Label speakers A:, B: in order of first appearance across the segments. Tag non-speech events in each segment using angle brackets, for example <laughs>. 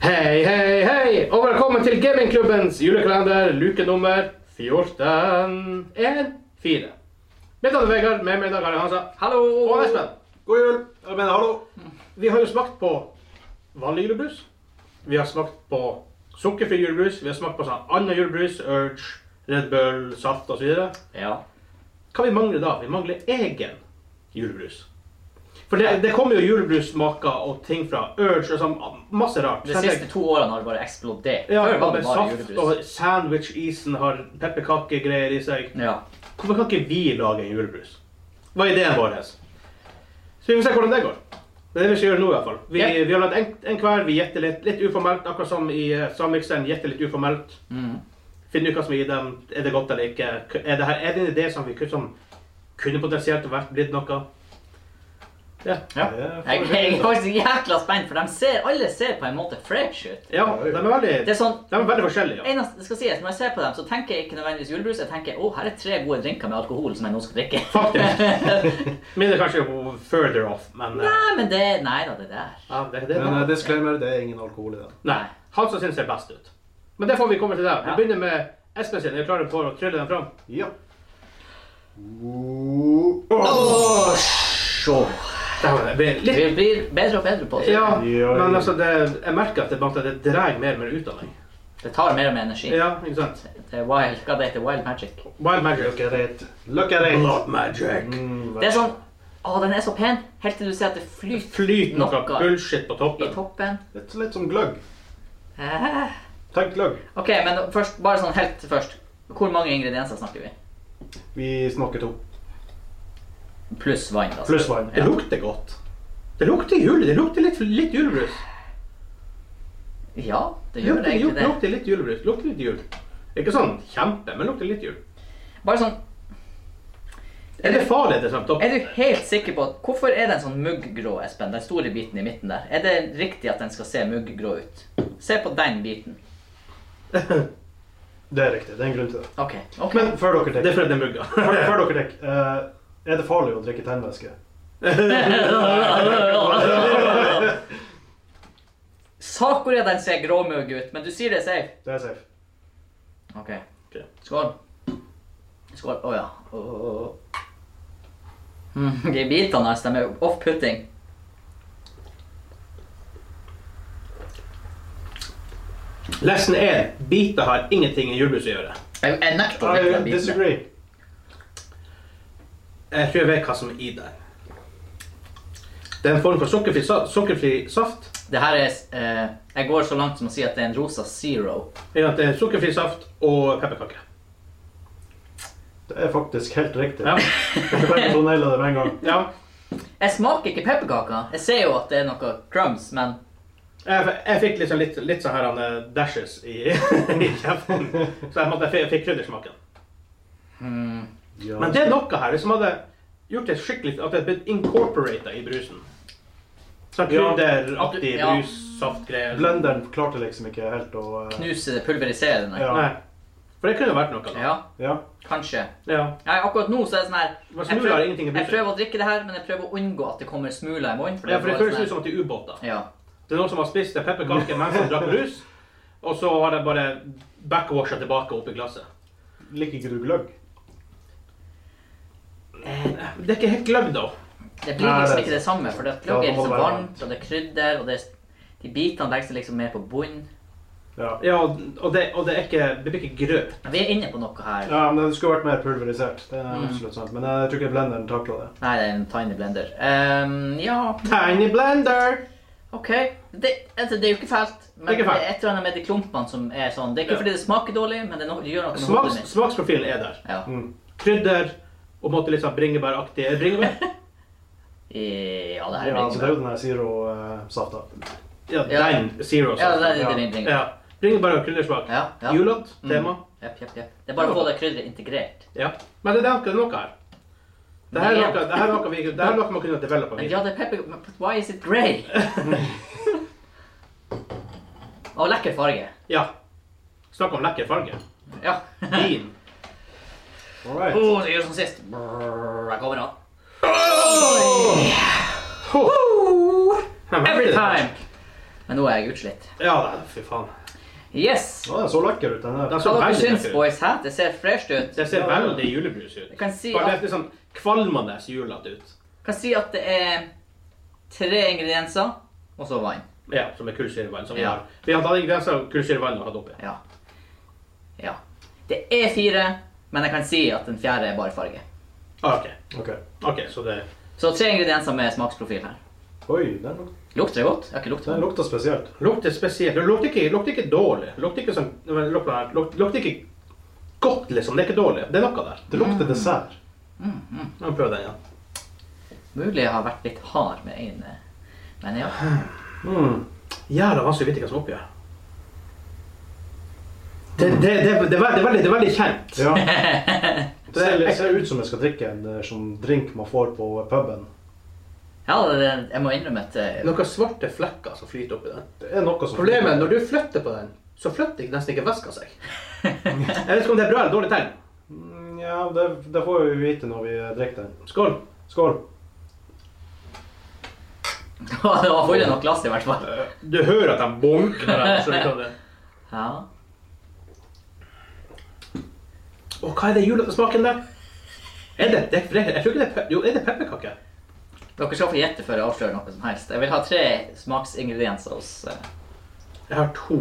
A: Hei, hei, hei, og velkommen til gamingklubbens julekalender, luke nummer 14. 1, 4. Mitt navn er Vegard, med meg i dag har jeg Hansa. Hallo! Og Espen.
B: God jul! Jeg mener, hallo!
A: Vi har jo smakt på vanlig julebrus. Vi har smakt på sukkerfri julebrus. Vi har smakt på sånn annen julebrus, Urge, Red Bull, saft osv.
C: Ja.
A: Hva vi mangler da? Vi mangler egen julebrus. For det, det kommer jo julebrussmaker og ting fra Urge og sånn masse rart.
C: De
A: Selv-
C: siste to årene har det bare eksplodert.
A: Ja,
C: Før var
A: med
C: det bare
A: saft
C: julebrus.
A: og sandwich-isen har pepperkakegreier i seg.
C: Ja.
A: Hvorfor kan ikke vi lage en julebrus? Hva er ideen vår? Så vi får se hvordan det går. Det er det vi skal gjøre nå i hvert fall. Vi,
C: Ja.
A: vi har lagd en, en hver, vi gjetter litt, litt uformelt, akkurat som i eh, Samikseren, gjetter litt uformelt.
C: Mm.
A: Finner ut hva som er i dem, er det godt eller ikke. K- Er det, her, er det en idé som, vi, kunne- som kunne potensielt vært blitt noe? Ja.
C: Ja. Jeg, jeg er faktisk jækla spent, for de ser, alle ser på en måte fresh ut.
A: ja, de er veldig,
C: Det er sånn,
A: de er veldig forskjellige. Ja.
C: eneste, det skal sies, Når jeg ser på dem, så tenker jeg ikke nødvendigvis julebrus. Jeg tenker å, her er tre gode drinker med alkohol som jeg nå skal drikke.
A: Faktisk. Minner kanskje further off, men eh,
C: <laughs> Nei, men det Nei da, det der.
A: ja, det, det,
B: Men eh, disclaimer, det er ingen alkohol i den.
A: Nei. Han som syns ser best ut. Men det får vi komme til der. Vi begynner med Espen sin. Er du klar for å trylle den fram?
B: Ja. Oh.
C: Så.
A: Der var det. Vi-
C: Vi
A: Litt.
C: blir bedre og bedre på det.
A: Ja, men altså, det, jeg merker at det, bare- det drar mer og mer ut av meg.
C: Det tar mer og mer energi.
A: Ja, ikke sant?
C: Det er wild, hva det heter wild magic.
A: Wild
B: Look
A: magic.
B: at it. Look at it.
A: Blood magic.
B: Mm,
C: Det er sånn Å, den er så pen! Helt til du ser at det flyter
A: Flyt noe
C: Noe.
A: bullshit på
C: i
A: toppen.
C: toppen.
B: Litt, litt som gløgg.
C: Eh.
B: Tenk gløgg.
C: Ok, men først, bare sånn helt først. Hvor mange ingredienser snakker vi?
B: Vi snakker to.
C: Pluss vann, altså.
B: Pluss vann.
A: Det lukter godt. Det lukter jule. Det lukter litt, litt julebrus.
C: Ja,
A: Det
C: det gjør
A: lukter,
C: det egentlig det.
A: lukter litt julebrus. Lukter litt jul. Ikke sånn kjempe, men lukter litt jul.
C: Bare sånn,
A: Er det farlig det samt opp?
C: er du helt sikker på at Hvorfor er den sånn mugggrå, Espen? Den store biten i midten der. Er det riktig at den skal se mugggrå ut? Se på den biten.
B: Det er riktig. Det er en grunn til det.
C: Ok. ok.
B: Men før dere
A: Det er
B: drikker,
A: fordi det er mugga.
B: før, før dere drikker eh, er det farlig å drikke tennvæske?
C: Sakura, den ser gråmugg ut, men du sier det er safe.
B: Det er safe.
C: Ok.
A: Ok.
C: Skål. Skål. Å ja. Å, å, å. Mm, <laughs> de bitene her stemmer jo off-putting.
A: Lesson 1. Biter har ingenting i julebrus å gjøre.
C: Jeg, jeg nekter å drikke
B: I
C: den biten.
B: disagree.
A: Jeg tror jeg vet hva som er i der. Det er en form for sukkerfri, sa sukkerfri saft.
C: Det her er eh, Jeg går så langt som å si at det er en rosa zero.
A: Ja, det er sukkerfri saft og pepperkake.
B: Det er faktisk helt riktig.
A: Ja.
B: Jeg kan tonelle det med en gang.
A: ja.
C: Jeg smaker ikke pepperkaker. Jeg ser jo at det er noe crumbs, men
A: Jeg, jeg fikk liksom litt, litt sånn her eh, dashes i, <laughs> i kjeften, så jeg, måtte, jeg fikk- jeg fikk kryddersmaken.
B: Ja.
A: Men det er noe her som hadde gjort det skikkelig at det hadde blitt incorporata i brusen. Sånn
B: Ja.
A: krydderaktig
C: Ja.
A: brus, saftgreier.
B: Blenderen klarte liksom ikke helt å eh,
C: knuser det, pulveriserer det.
B: Ja.
A: Nei. For det kunne vært noe, da.
C: Ja,
B: Ja.
C: kanskje.
A: Ja.
C: Nei, akkurat nå så er det sånn her
A: Men
C: jeg
A: smuler er
C: prøver,
A: ingenting i
C: jeg
A: brusen.
C: prøver å drikke det her, men jeg prøver å unngå at det kommer smuler i munnen. for
A: Ja, for det
C: bare
A: føles
C: sånn
A: ut som at det er ubåter.
C: her- Ja.
A: Det er noen som har spist en pepperkake mens de drakk brus, og så har de bare backwasha tilbake oppi glasset.
B: Liker ikke du gløgg?
C: Eh,
A: Det er ikke helt gløgg, da.
C: Det blir
B: Nei,
C: liksom
B: det-
C: ikke det samme, for det
B: Ja,
C: plugger
B: det må
C: liksom
B: være
C: varmt, og det er krydder, og det er, de bitene legger seg liksom mer på bunnen.
B: Ja.
A: Ja, og det, og det, er ikke, det blir ikke grøt.
C: Vi er inne på noe her.
B: Ja, men Det skulle vært mer pulverisert. Det er absolutt sant. Men eh, jeg tror ikke blenderen takla det.
C: Nei, det er en tiny blender. Ehm, ja,
A: Tiny blender!
C: OK. Det, altså, det er jo ikke fælt. Men
A: Det er ikke fælt.
C: det er et eller annet med de klumpene som er sånn. Det er ikke
A: Ja.
C: fordi det smaker dårlig, men det, er noe, det gjør noe med hodet
A: Smaks,
C: mitt.
A: smaksprofilen er der.
C: Ja.
B: Mm.
A: Krydder og måtte litt sånn bringebæraktig Er det Bringebær?
C: <laughs> I- ja, det her
B: Ja,
C: blir
B: altså, det
C: ikke
B: er jo den der eh, Zero-safta.
A: Ja,
C: Ja.
A: den. Zero. altså.
C: Ja, det er
B: Ja.
C: det min ting.
A: ja. Bringebær og kryddersmak.
C: Ja, ja. Mm.
A: Julott, tema.
C: Jepp, jepp, jepp. Det er bare å få det krydderet integrert.
A: Ja. Men det er noe, det er noe her. Det her er
C: Men-
A: noe, det her er noe, vi, det her er noe man kunne developa
C: Men
A: videre.
C: ja, det er pepper... Men why is it
A: <laughs>
C: grey? Å, lekker farge.
A: Ja. Snakk om lekker farge.
C: Ja. <laughs>
A: Vin.
B: All right.
C: Oh, det gjør som sist. Brrr, Jeg kommer nå.
A: Ho!
C: Oh! Every time! Men nå er jeg utslitt.
B: Ja, nei, fy faen.
C: Yes!
B: Å, den så lekker ut, den her.
A: Den så
C: Hva dere
A: veldig
C: syns,
A: lekker ut.
C: boys? Hæ? Det ser fresh ut.
A: Det ser veldig julebrus ut.
C: Jeg kan si
A: Bare
C: at,
A: det er sånn kvalmende julete ut.
C: kan si at det er tre ingredienser, og så vann.
A: Ja, som er kullsyrevann. Som vi
C: Ja.
A: har. Vi har tatt ingredienser av kullsyrevann og hatt oppi.
C: Ja. Ja. Det er fire, men jeg kan si at den fjerde er bare farge.
A: Ah, ok.
B: Ok.
A: ok, så det
C: Så tre ingredienser med smaksprofil her.
B: Oi, den, luk-
C: Lukter det godt? Jeg har ikke lukta
B: den
C: det.
B: lukter spesielt.
A: lukter spesielt. Det lukter ikke, lukter ikke dårlig. Lukter ikke, sånn, men lukter, her. Luk- lukter ikke godt, liksom. Det er ikke dårlig. Det er noe der.
B: Det lukter dessert.
A: Nå prøver den igjen.
C: Mulig jeg har vært litt hard med en eh, Men ja.
B: Mm.
A: Jævla vanskelig å vite hva som er oppi her. Det, det, det, det, er veldig, det, er veldig, det er veldig kjent. <laughs>
B: Ja. Det ser, det ser ut som jeg skal drikke en eh, sånn drink man får på puben.
C: Ja, det- jeg må innrømme at eh, <laughs>
A: Noen svarte flekker som flyter oppi den.
B: Det er noe som
A: Problemet er når du flytter på den, så flytter ikke- nesten ikke væska seg. Jeg vet ikke om det er bra eller dårlig tegn.
B: Mm, Ja, det, det får vi vite når vi eh, drikker den.
A: Skål.
B: Skål.
C: det var fullt nok glass i hvert fall.
A: Du hører at de bonker der. så du kan det.
C: Ja.
A: Å, hva er det julete smaken der? Er det, det, det Jeg tror ikke det er pe- Jo, er det pepperkake?
C: Dere skal få gjette før jeg avslører noe som helst. Jeg vil ha tre smaksingredienser hos eh,
A: Jeg har to.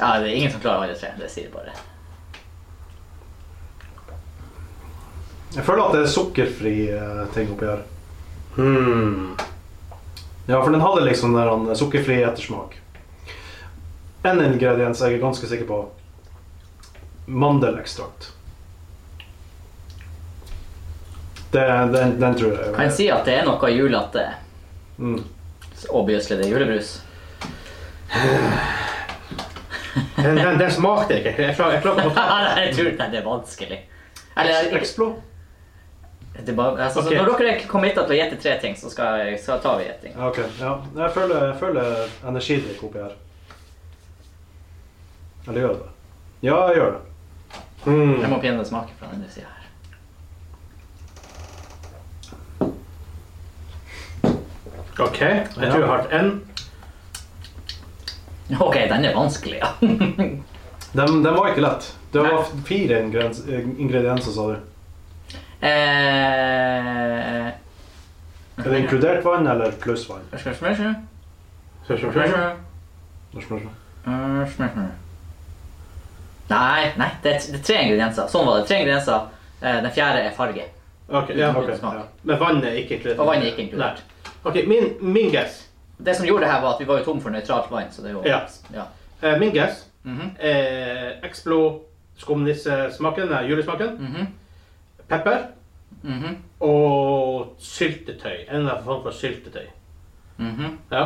C: Ja, det er ingen som klarer alle tre. Det sier jeg bare.
B: Jeg føler at det er sukkerfri eh, ting oppi her.
A: Hmm.
B: Ja, for den hadde liksom der en sukkerfri ettersmak. En ingrediens jeg er ganske sikker på. Mandelekstrakt. Det, den, den tror jeg.
C: Kan jeg si at det er noe julete.
B: Mm.
C: Obviously, det er julebrus.
A: Den, den, den smakte jeg ikke. Jeg klarer jeg klarer ikke å ta
C: Nei, jeg tror nei, det er vanskelig. Eller ikke-
B: Explo?
C: det er bare, altså,
A: Ok.
C: så Når dere kommer hit til å gjette tre ting, så skal, jeg- så tar vi gjetting.
B: Ja, ok. Ja. Jeg føler, jeg føler energidrikk oppi her. Eller gjør jeg det? Ja, jeg gjør det.
A: Hmm.
C: Jeg må pinne smake fra den du sier her.
A: OK, jeg tror jeg har hatt en.
C: OK, den er vanskelig, ja. <laughs>
B: Den, den var ikke lett. Det
C: Nei.
B: var fire ingrediens, ingredienser, sa du.
C: eh,
B: Er det inkludert vann eller pluss vann?
C: Eh, Nei, nei det, er, det er tre ingredienser. Sånn var det. Tre ingredienser. Eh, Den fjerde er farge.
A: Ok, ja,
B: ok,
C: Smak.
B: ja.
A: Men vannet er ikke inkludert.
C: Og vannet er ikke inkludert.
A: Nei. OK, min, min guess.
C: Det som gjorde det her, var at vi var jo tom for nøytralt vann. så det er jo...
A: Ja.
C: ja.
A: Eh, min guess
C: Mhm,
A: er Explo, skumnissesmaken, eh, julesmaken,
C: mhm,
A: pepper
C: mhm,
A: og syltetøy. En eller annen form for syltetøy.
C: mhm.
A: Ja.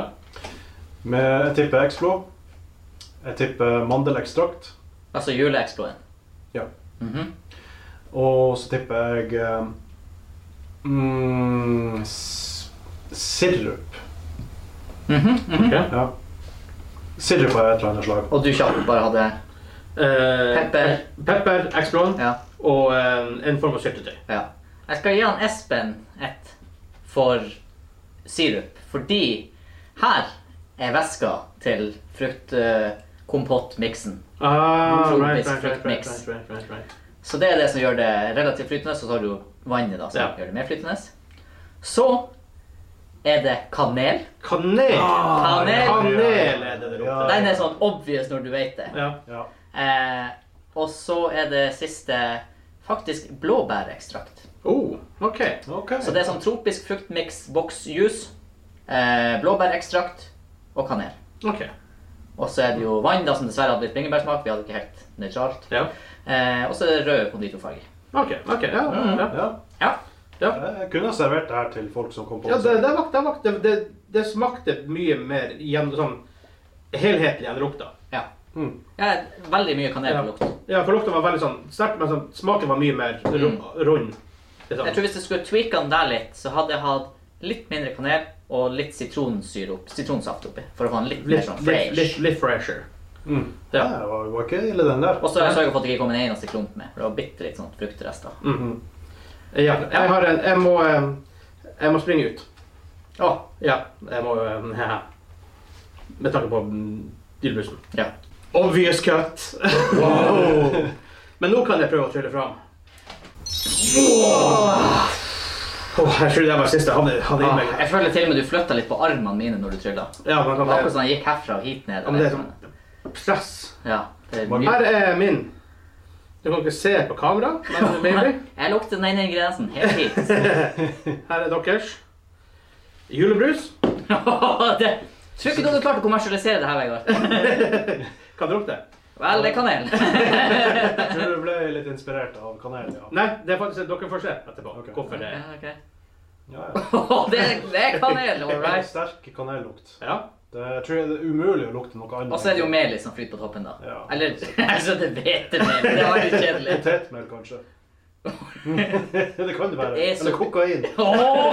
B: Med, jeg tipper Explo. Jeg tipper mandelekstrakt.
C: Altså juleeksploden.
B: Ja.
C: Mhm.
B: Og så tipper jeg eh, mm, s- sirup.
C: Mhm, mhm.
A: Ok.
B: Ja. Sirup av et eller annet slag.
C: Og du kjapt bare hadde
A: Eh,
C: Pepper.
A: Pepper, Explo
C: Ja.
A: og eh, en form for syltetøy.
C: ja. Jeg skal gi han Espen ett for sirup, fordi her er væska til fruktkompottmiksen.
A: Ah,
C: Tropisk
A: right, right, right, right,
C: fruktmix.
A: right, right, right, right.
C: Så det er det som gjør det relativt flytende, så tar du vannet da, som
A: Ja.
C: gjør det mer flytende. Så er det kanel.
A: Kanel!
B: Ah,
C: Kanel.
A: Kanel er det det lukter.
B: Ja.
C: Den er sånn obvious når du vet det.
A: Ja.
B: Ja.
C: Eh, og så er det siste faktisk blåbærekstrakt.
A: Oh, OK.
B: Ok.
C: Så det er sånn tropisk fruktmix boksjus, eh, blåbærekstrakt og kanel.
A: ok.
C: Og så er det jo vann, da, som dessverre hadde litt bringebærsmak. Vi hadde ikke helt nøytralt.
A: Ja.
C: Eh, og så er det rød konditorfarge.
A: OK. ok, ja,
C: Mm.
A: ja.
B: ja.
C: Ja.
B: Jeg kunne ha servert det her til folk som kom på
A: Ja,
C: sånn.
A: det,
B: besøk.
A: det, vak- det, vak- det, det, det smakte mye mer gjennom, sånn, helhetlig enn lukta.
C: ja.
B: Mm.
C: ja veldig mye kanel på lukt.
A: Ja, for lukta var veldig sånn sterk, men sånn, smaken var mye mer ru- rund. Det er sånn.
C: Mm. Jeg tror hvis jeg skulle tweaka den der litt, så hadde jeg hatt litt mindre kanel og litt sitronsyre opp, sitronsaft oppi. For å få den litt mer
A: litt,
C: sånn
A: litt, litt,
C: fresh.
A: litt fresher.
B: Mm.
A: Ja.
B: Ja, det var, var ikke ille, den der.
C: Og så har jeg sørga for at det ikke kom en eneste klump med. For det var bitte litt sånn fruktrester.
A: Mhm. Ja, jeg, har en, jeg, må, eh, jeg må springe ut.
C: Å,
A: Ja, jeg må jo ja. <laughs> Med tanke på mm, Dilbussen.
C: Ja.
A: Obvious cut! Men nå kan jeg prøve å trylle fram. Åh, jeg tror det var siste han hadde i
C: Ah,
A: meg.
C: jeg føler til og med du flytta litt på armene mine når du trylla.
A: Ja, men
C: Det var akkurat
A: kan
C: sånn jeg gikk herfra og hit ned.
A: ja, men det er sånn press.
C: Ja, det er mye.
A: Her er min. Du kan ikke se på kamera, men maybe.
C: Jeg lukter den ene ingrediensen helt hit.
A: Her er deres. Julebrus.
C: det, tror ikke du hadde klart å kommersialisere det her, Vegard.
A: Kan du lukte?
C: Vel, det er kanel.
B: Jeg tror du ble litt inspirert av kanel, ja.
A: Nei, det er faktisk dere får se etterpå
B: Ok.
A: hvorfor det er.
C: Ja, ok.
B: ja, ja.
C: det, er- det er kanel, all
B: Det er en
C: right.
B: sterk kanellukt.
A: Ja.
B: Det, jeg tror det er umulig å lukte noe annet.
C: Og så er det jo melis som flyter på toppen, da.
B: Ja.
C: Eller <laughs> altså, det vet jeg men det var litt kjedelig.
B: Potetmel,
C: <laughs>
B: kanskje. det kan det være.
C: Det er så-
B: Eller
C: <laughs>
B: kokain.
C: Åh!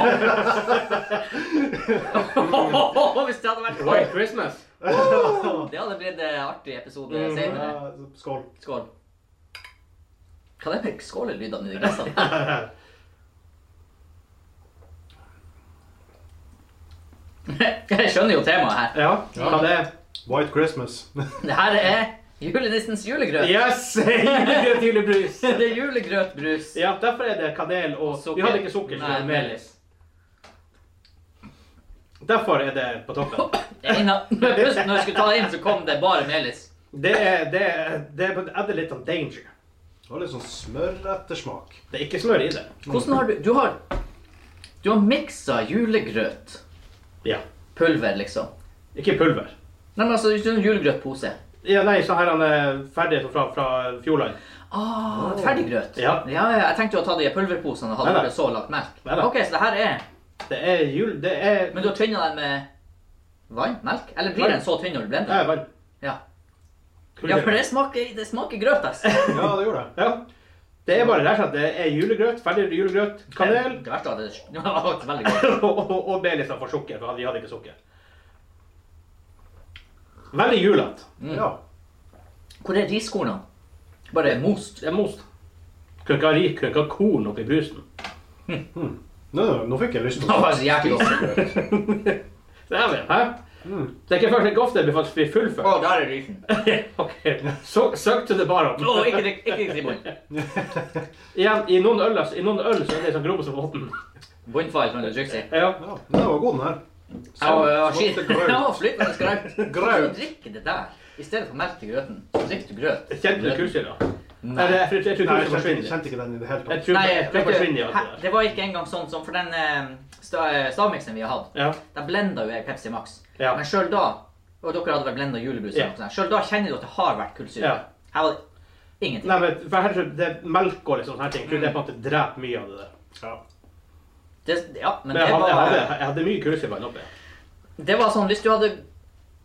C: Hvis det hadde vært
A: White Christmas.
C: Det hadde blitt en artig episode
A: Mhm.
C: senere.
B: Ja, Skål.
C: Skål. Hva er det med skålelydene i de glassene? <laughs> Jeg skjønner jo temaet her.
A: Ja, hva det er.
B: White Christmas.
C: Det her er julenissens julegrøt.
A: Yes! Julegrøt, julebrus.
C: Det er julegrøtbrus.
A: Ja, derfor er det kanel og
C: Sukker.
A: Vi hadde ikke sukker, så det
C: Nei,
A: var melis. Derfor er det på toppen.
C: Det ene, plutselig <laughs> når jeg skulle ta det inn, så kom det bare melis.
A: Det er, det er, det er, det er litt av danger.
B: Det var litt sånn smørettersmak.
A: Det er ikke smør i det.
C: Hvordan har du Du har, du har miksa julegrøt.
A: Ja.
C: Pulver, liksom.
A: Ikke pulver.
C: Nei, men altså, ikke en julegrøtpose.
A: Ja, nei, så her han er ferdig fra, fra Fjordland.
C: Ah, ferdiggrøt.
A: Ja.
C: ja, ja. Jeg tenkte jo å ta de pulverposene og
A: Nei,
C: hadde
A: nei.
C: det så lagt melk.
A: Nei, nei.
C: Ok, så det her er
A: Det er jul... Det er
C: Men du har tynna den med vann? Melk? Eller blir
A: Vann.
C: den så tynn når du
A: Det
C: blender?
A: er vann.
C: Ja. ja, for det smaker, det smaker grøt, altså. ass.
B: Ja, det gjorde det.
A: Ja. Det er bare rett og slett det er julegrøt, ferdig julegrøt, kanel <laughs>
C: Det <laughs> verste var at det- det var faktisk veldig godt.
A: og, og, og melis for sukker, for vi hadde ikke sukker. Veldig julete.
C: Mm.
B: Ja.
C: Hvor er riskornene? Bare most.
A: Det er most. Kunne ikke ha rik, kunne ikke ha korn oppi brusen.
B: Nå, nå fikk jeg lyst
C: Det
B: til å
C: var så jæklig godt.
A: Det er vi, hæ? Det er ikke først ikke ofte det blir faktisk blir fullført.
C: Å, der er risen. Å,
A: <laughs> ok, så, søk til det bare om.
C: ikke drikk ikke drikk i bunn.
A: Igjen, i noen, øl, altså, i noen øl så er det sånn grob som våten.
C: Bunnfall, som det trykker seg.
A: Ja.
B: Ja, det var god, den her.
C: <laughs> Au, skit.
B: smakte grøt.
C: Ja, flytende grøt.
A: <laughs>
B: Grøt.
C: Du drikker det der. I stedet for melk til grøten, så drikker du grøt.
A: Kjente du kursyra? Nei, det- jeg tror- jeg tror kurset
B: Nei, jeg kjente,
A: forsvinner.
B: kjente ikke den i det hele
A: Jeg
B: tatt.
A: tror
C: Nei,
A: det
C: vet du,
A: forsvinner i alt
C: hæ,
A: det der.
C: det var ikke engang sånn som for den eh, sta- eh, stavmiksen vi har hatt.
A: Ja.
C: Da blenda jo jeg Pepsi Max.
A: Ja.
C: Men sjøl da og dere hadde vel blenda julebrus,
A: Ja.
C: eller noe sånt. selv da kjenner du at det har vært kullsyre.
A: Ja.
C: Her var det ingenting.
A: Nei, men for her tror jeg det er melk og liksom sånne her ting. Jeg tror det på en måte dreper mye av det der.
B: Ja.
C: Det, ja, men,
A: Men jeg
C: det,
A: hadde, jeg
C: var,
A: hadde, jeg hadde mye kursyra oppi.
C: det var sånn hvis du hadde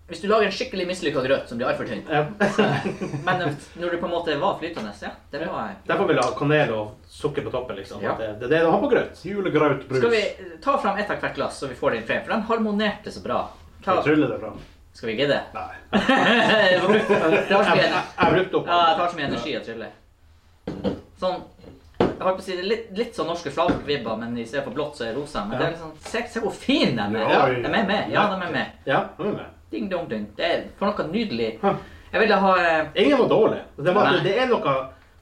C: Hvis du lager en skikkelig mislykka grøt som blir altfor tynn
A: Ja. <laughs>
C: Men eh, når du på en måte var flytende, ja, det var
A: Derfor vil jeg ha kanel og sukker på toppen, liksom.
C: Ja.
A: Det det er det de har på grøt.
B: Julegrautbrus.
C: Skal vi eh, ta fram ett av hvert glass, så vi får det inn frem? For den harmonerte så bra. Ta,
B: Jeg tryller det fram.
C: skal vi gidde? <laughs>
B: Nei.
C: Det var- det var så
A: Jeg,
B: <laughs>
C: mye
A: jeg,
C: energi.
A: jeg brukte opp.
C: Ja, jeg tar så mye energi å trylle. Sånn Jeg holdt på å si det er litt, litt sånn norske flaggvibber, men i stedet for blått, så er det rosa. Men det er litt sånn, se, se hvor fin de er! Ja,
B: Oi.
C: de er med. Ja, de er med.
A: Ja, nå er vi med.
C: Ding dong ding. Det er for noe nydelig. Jeg ville ha eh,
A: Ingen var dårlig. Det, var,
C: Nei.
A: det, er noe,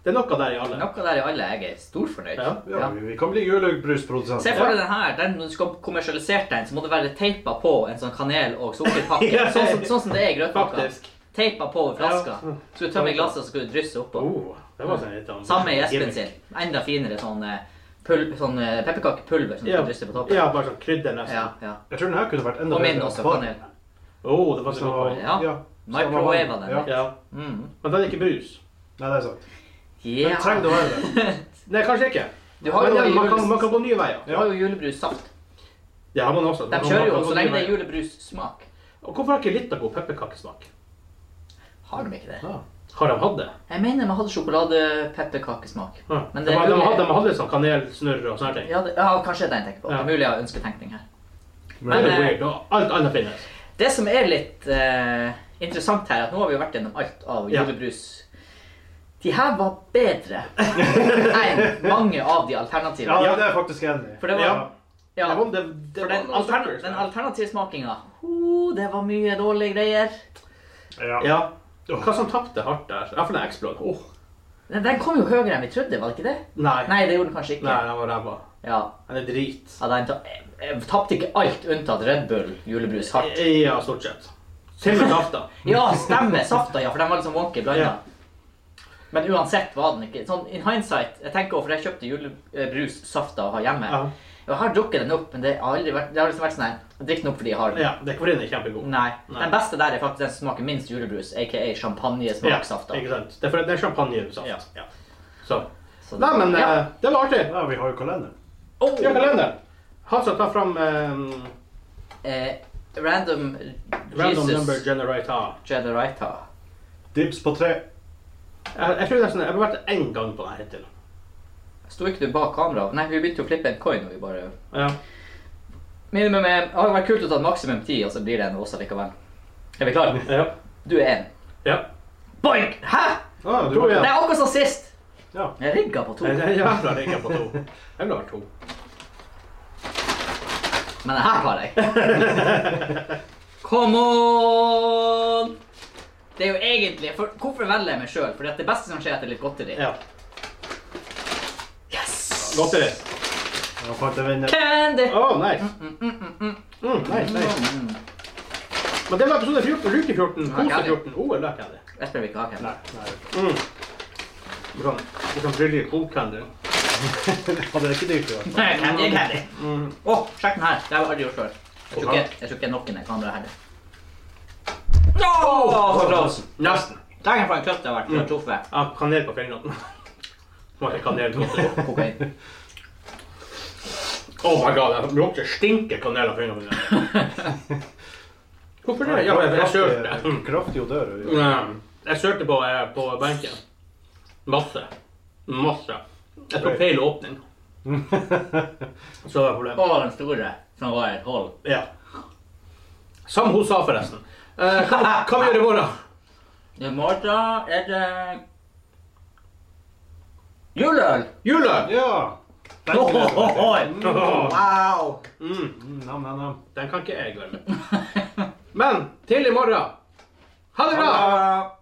A: det er noe der i alle.
C: noe der i alle. Jeg er storfornøyd.
A: Ja,
B: Ja,
C: Ja.
B: vi, vi kan bli julegrusprodusent.
C: Se for deg den her. Den, når du skal kommersialisere den, så må det være teipa på en sånn kanel- og sukkerpakke.
A: <laughs> Ja.
C: Sånn, som- sånn som det er i grøtpakka.
A: Faktisk.
C: Teipa på over flaska.
A: Ja.
C: Skal du tømme glasset, så skal du drysse oppå.
A: Oh, det var sånn litt sånn
C: Samme i Espen
A: gimmick.
C: sin. Enda finere sånn, eh, pul sånn eh, pepperkakepulver som du
A: Ja.
C: drysser på toppen.
A: ja, bare sånn krydder nesten.
C: Ja, ja.
B: Jeg tror den her kunne vært enda
C: Og min også,
B: Varm.
C: kanel.
A: Oh, det var så
B: Så,
A: godt.
C: Ja.
B: så den var
C: Microwave
B: varm.
C: den.
B: Ja.
A: Ja.
C: Mm.
A: Men den er ikke brus.
B: Nei, det er sant. Men
C: Yeah.
B: trenger det å være det?
A: Nei, kanskje ikke.
C: <laughs> Du har
A: Men
C: jo,
A: igjen, man, kan, man
C: julebrus,
A: kan gå nye veier.
C: du har jo julebrussaft.
A: Det har man også.
C: De
A: Man- man
C: kjører jo
A: kan gå nye
C: så lenge det er
A: veier.
C: julebrussmak.
A: Og hvorfor har ikke Litago pepperkakesmak?
C: Har de ikke det?
B: Ja.
A: Har de hatt det?
C: Jeg mener de hadde sjokoladepepperkakesmak.
A: Ja.
C: Men
A: de,
C: det er
A: har- de,
C: mulig-
A: har- de har hatt litt sånn kanelsnurr og sånne ting.
C: Ja, det, ja, kanskje det er det jeg tenker på. Det
A: Ja.
C: er mulig jeg har ønsketenkning her.
A: Det
C: Men,
A: er
C: eh,
A: weird, og alt annet finnes.
C: Det som er litt eh, interessant her, er at nå har vi jo vært gjennom alt av
A: Ja.
C: julebrus. De her var
A: <laughs>
C: bedre enn mange av de alternativene.
B: Ja, det er jeg faktisk enig i.
C: For det var,
A: Ja.
C: Ja,
A: Det var, det, det
C: for
A: var
C: den,
A: noe
C: altern
A: smaker,
C: den
A: så-
C: alternative smakinga oh, Det var mye dårlige greier.
B: Ja.
A: ja. Hva som tapte hardt der? Iallfall den Explode. Åh.
C: Den, den kom jo høyere enn vi trodde, var det ikke det?
A: Nei. Nei,
C: Nei, det gjorde den kanskje ikke.
A: den var ræva.
C: Ja,
A: Den er drit.
C: ja den ta jeg- jeg tapte ikke alt unntatt Red Bull julebrus hardt.
A: Ja, stort sett. Til og med safta.
C: Ja, stemmer. Mm. <laughs> Safta, ja, for den var liksom wonky blanda.
A: Ja.
C: Men uansett var den ikke Sånn in hindsight Jeg tenker over, for jeg kjøpte julebrus, safta, å ha hjemme.
B: Ja.
C: Jeg har drukket den opp, men det har aldri vært Det har liksom vært sånn her Jeg drikker den opp fordi jeg har den.
A: Ja, dekorin er kjempegod.
C: Nei.
A: Nei.
C: Den beste der er faktisk den som smaker minst julebrus, aka
A: Ja,
C: champagnesmaksafta.
A: ikke sant? Det er, for, det er champagnesaft.
C: Ja.
A: Ja. Så.
C: Så
A: Nei, men
C: ja.
A: eh, det var artig.
B: ja, vi har jo kalenderen.
C: Oh,
A: Ja, kalender. Hansa, ta fram eh,
C: eh, Random
A: Random
C: Jesus
A: Number Generator.
C: Jedi Raita.
B: Dibs på tre.
A: Jeg, jeg tror nesten jeg har vært én gang på den hittil.
C: Sto ikke du bak kamera? Nei, vi begynte jo å flippe en coin. og vi bare...
A: Ja.
C: Minimum er... Det hadde vært kult å ta maksimum ti, og så blir det en av oss likevel. Er vi klare?
A: Ja.
C: Du er én.
A: ja.
C: Boink! Hæ?!
B: Ah,
A: To igjen.
C: Det er akkurat som sist!
B: Ja.
C: Jeg rigga på to.
A: Jeg, jeg, jeg, jeg ligger på to. Jeg ville vært to.
C: Men det her tar jeg. <laughs> Come on! Det er jo egentlig for, Hvorfor velger jeg meg sjøl? Fordi at det beste som skjer, er at det er litt godteri.
A: Ja.
C: Yes!
A: Godteri.
B: Jeg fant en
A: <laughs>
B: vinner.
C: Candy!
A: Å, nice. Mm, nice, nice.
C: Mm.
A: Men det var episode 14, luke 14,
C: Ja,
A: pose
C: Candy.
A: 14. OL, der kan Oh, det.
C: Jeg spiller ikke hake.
B: Nei, nei.
A: Mm. Sånn, sånn bryllig kokhandel.
B: Hadde jeg ikke dyrt i hvert fall.
C: Nei, Candy er candy. Å,
A: Mm.
C: sjekk den her. Det har jeg aldri gjort før. Jeg tror
A: Oha.
C: ikke, jeg tror ikke nok ned kameraet heller. Åh, så close!
A: Nesten.
C: Tenk for en kløft det har vært for å truffe.
A: Ja, kanel på <laughs> fjellnatten. Smaker kanel godt.
C: Kokain.
A: Oh my god, jeg lukter stinker kanel av fingrene mine. <laughs> Hvorfor det? Ja, jeg, jeg sølte.
B: Kraftig- Kraftig odør. jo. <laughs>
A: Mm. Jeg sølte på, eh, på benken. Masse. Masse. Jeg tok feil åpning. Så var problemet.
C: Å, den store som var i et hull.
A: Ja. Som hun sa, forresten. Eh, hva, hva vi gjør i morgen?
C: I morgen er det Juleøl!
A: <laughs> Juleøl!
B: Ja! Den
C: Oi,
B: gleder jeg meg
C: oi,
B: til.
C: oi. Wow!
A: Mm.
B: Mm, Nam, nam, nam.
A: Den kan ikke jeg glemme. Men til i morgen. Ha det bra!
C: Bra.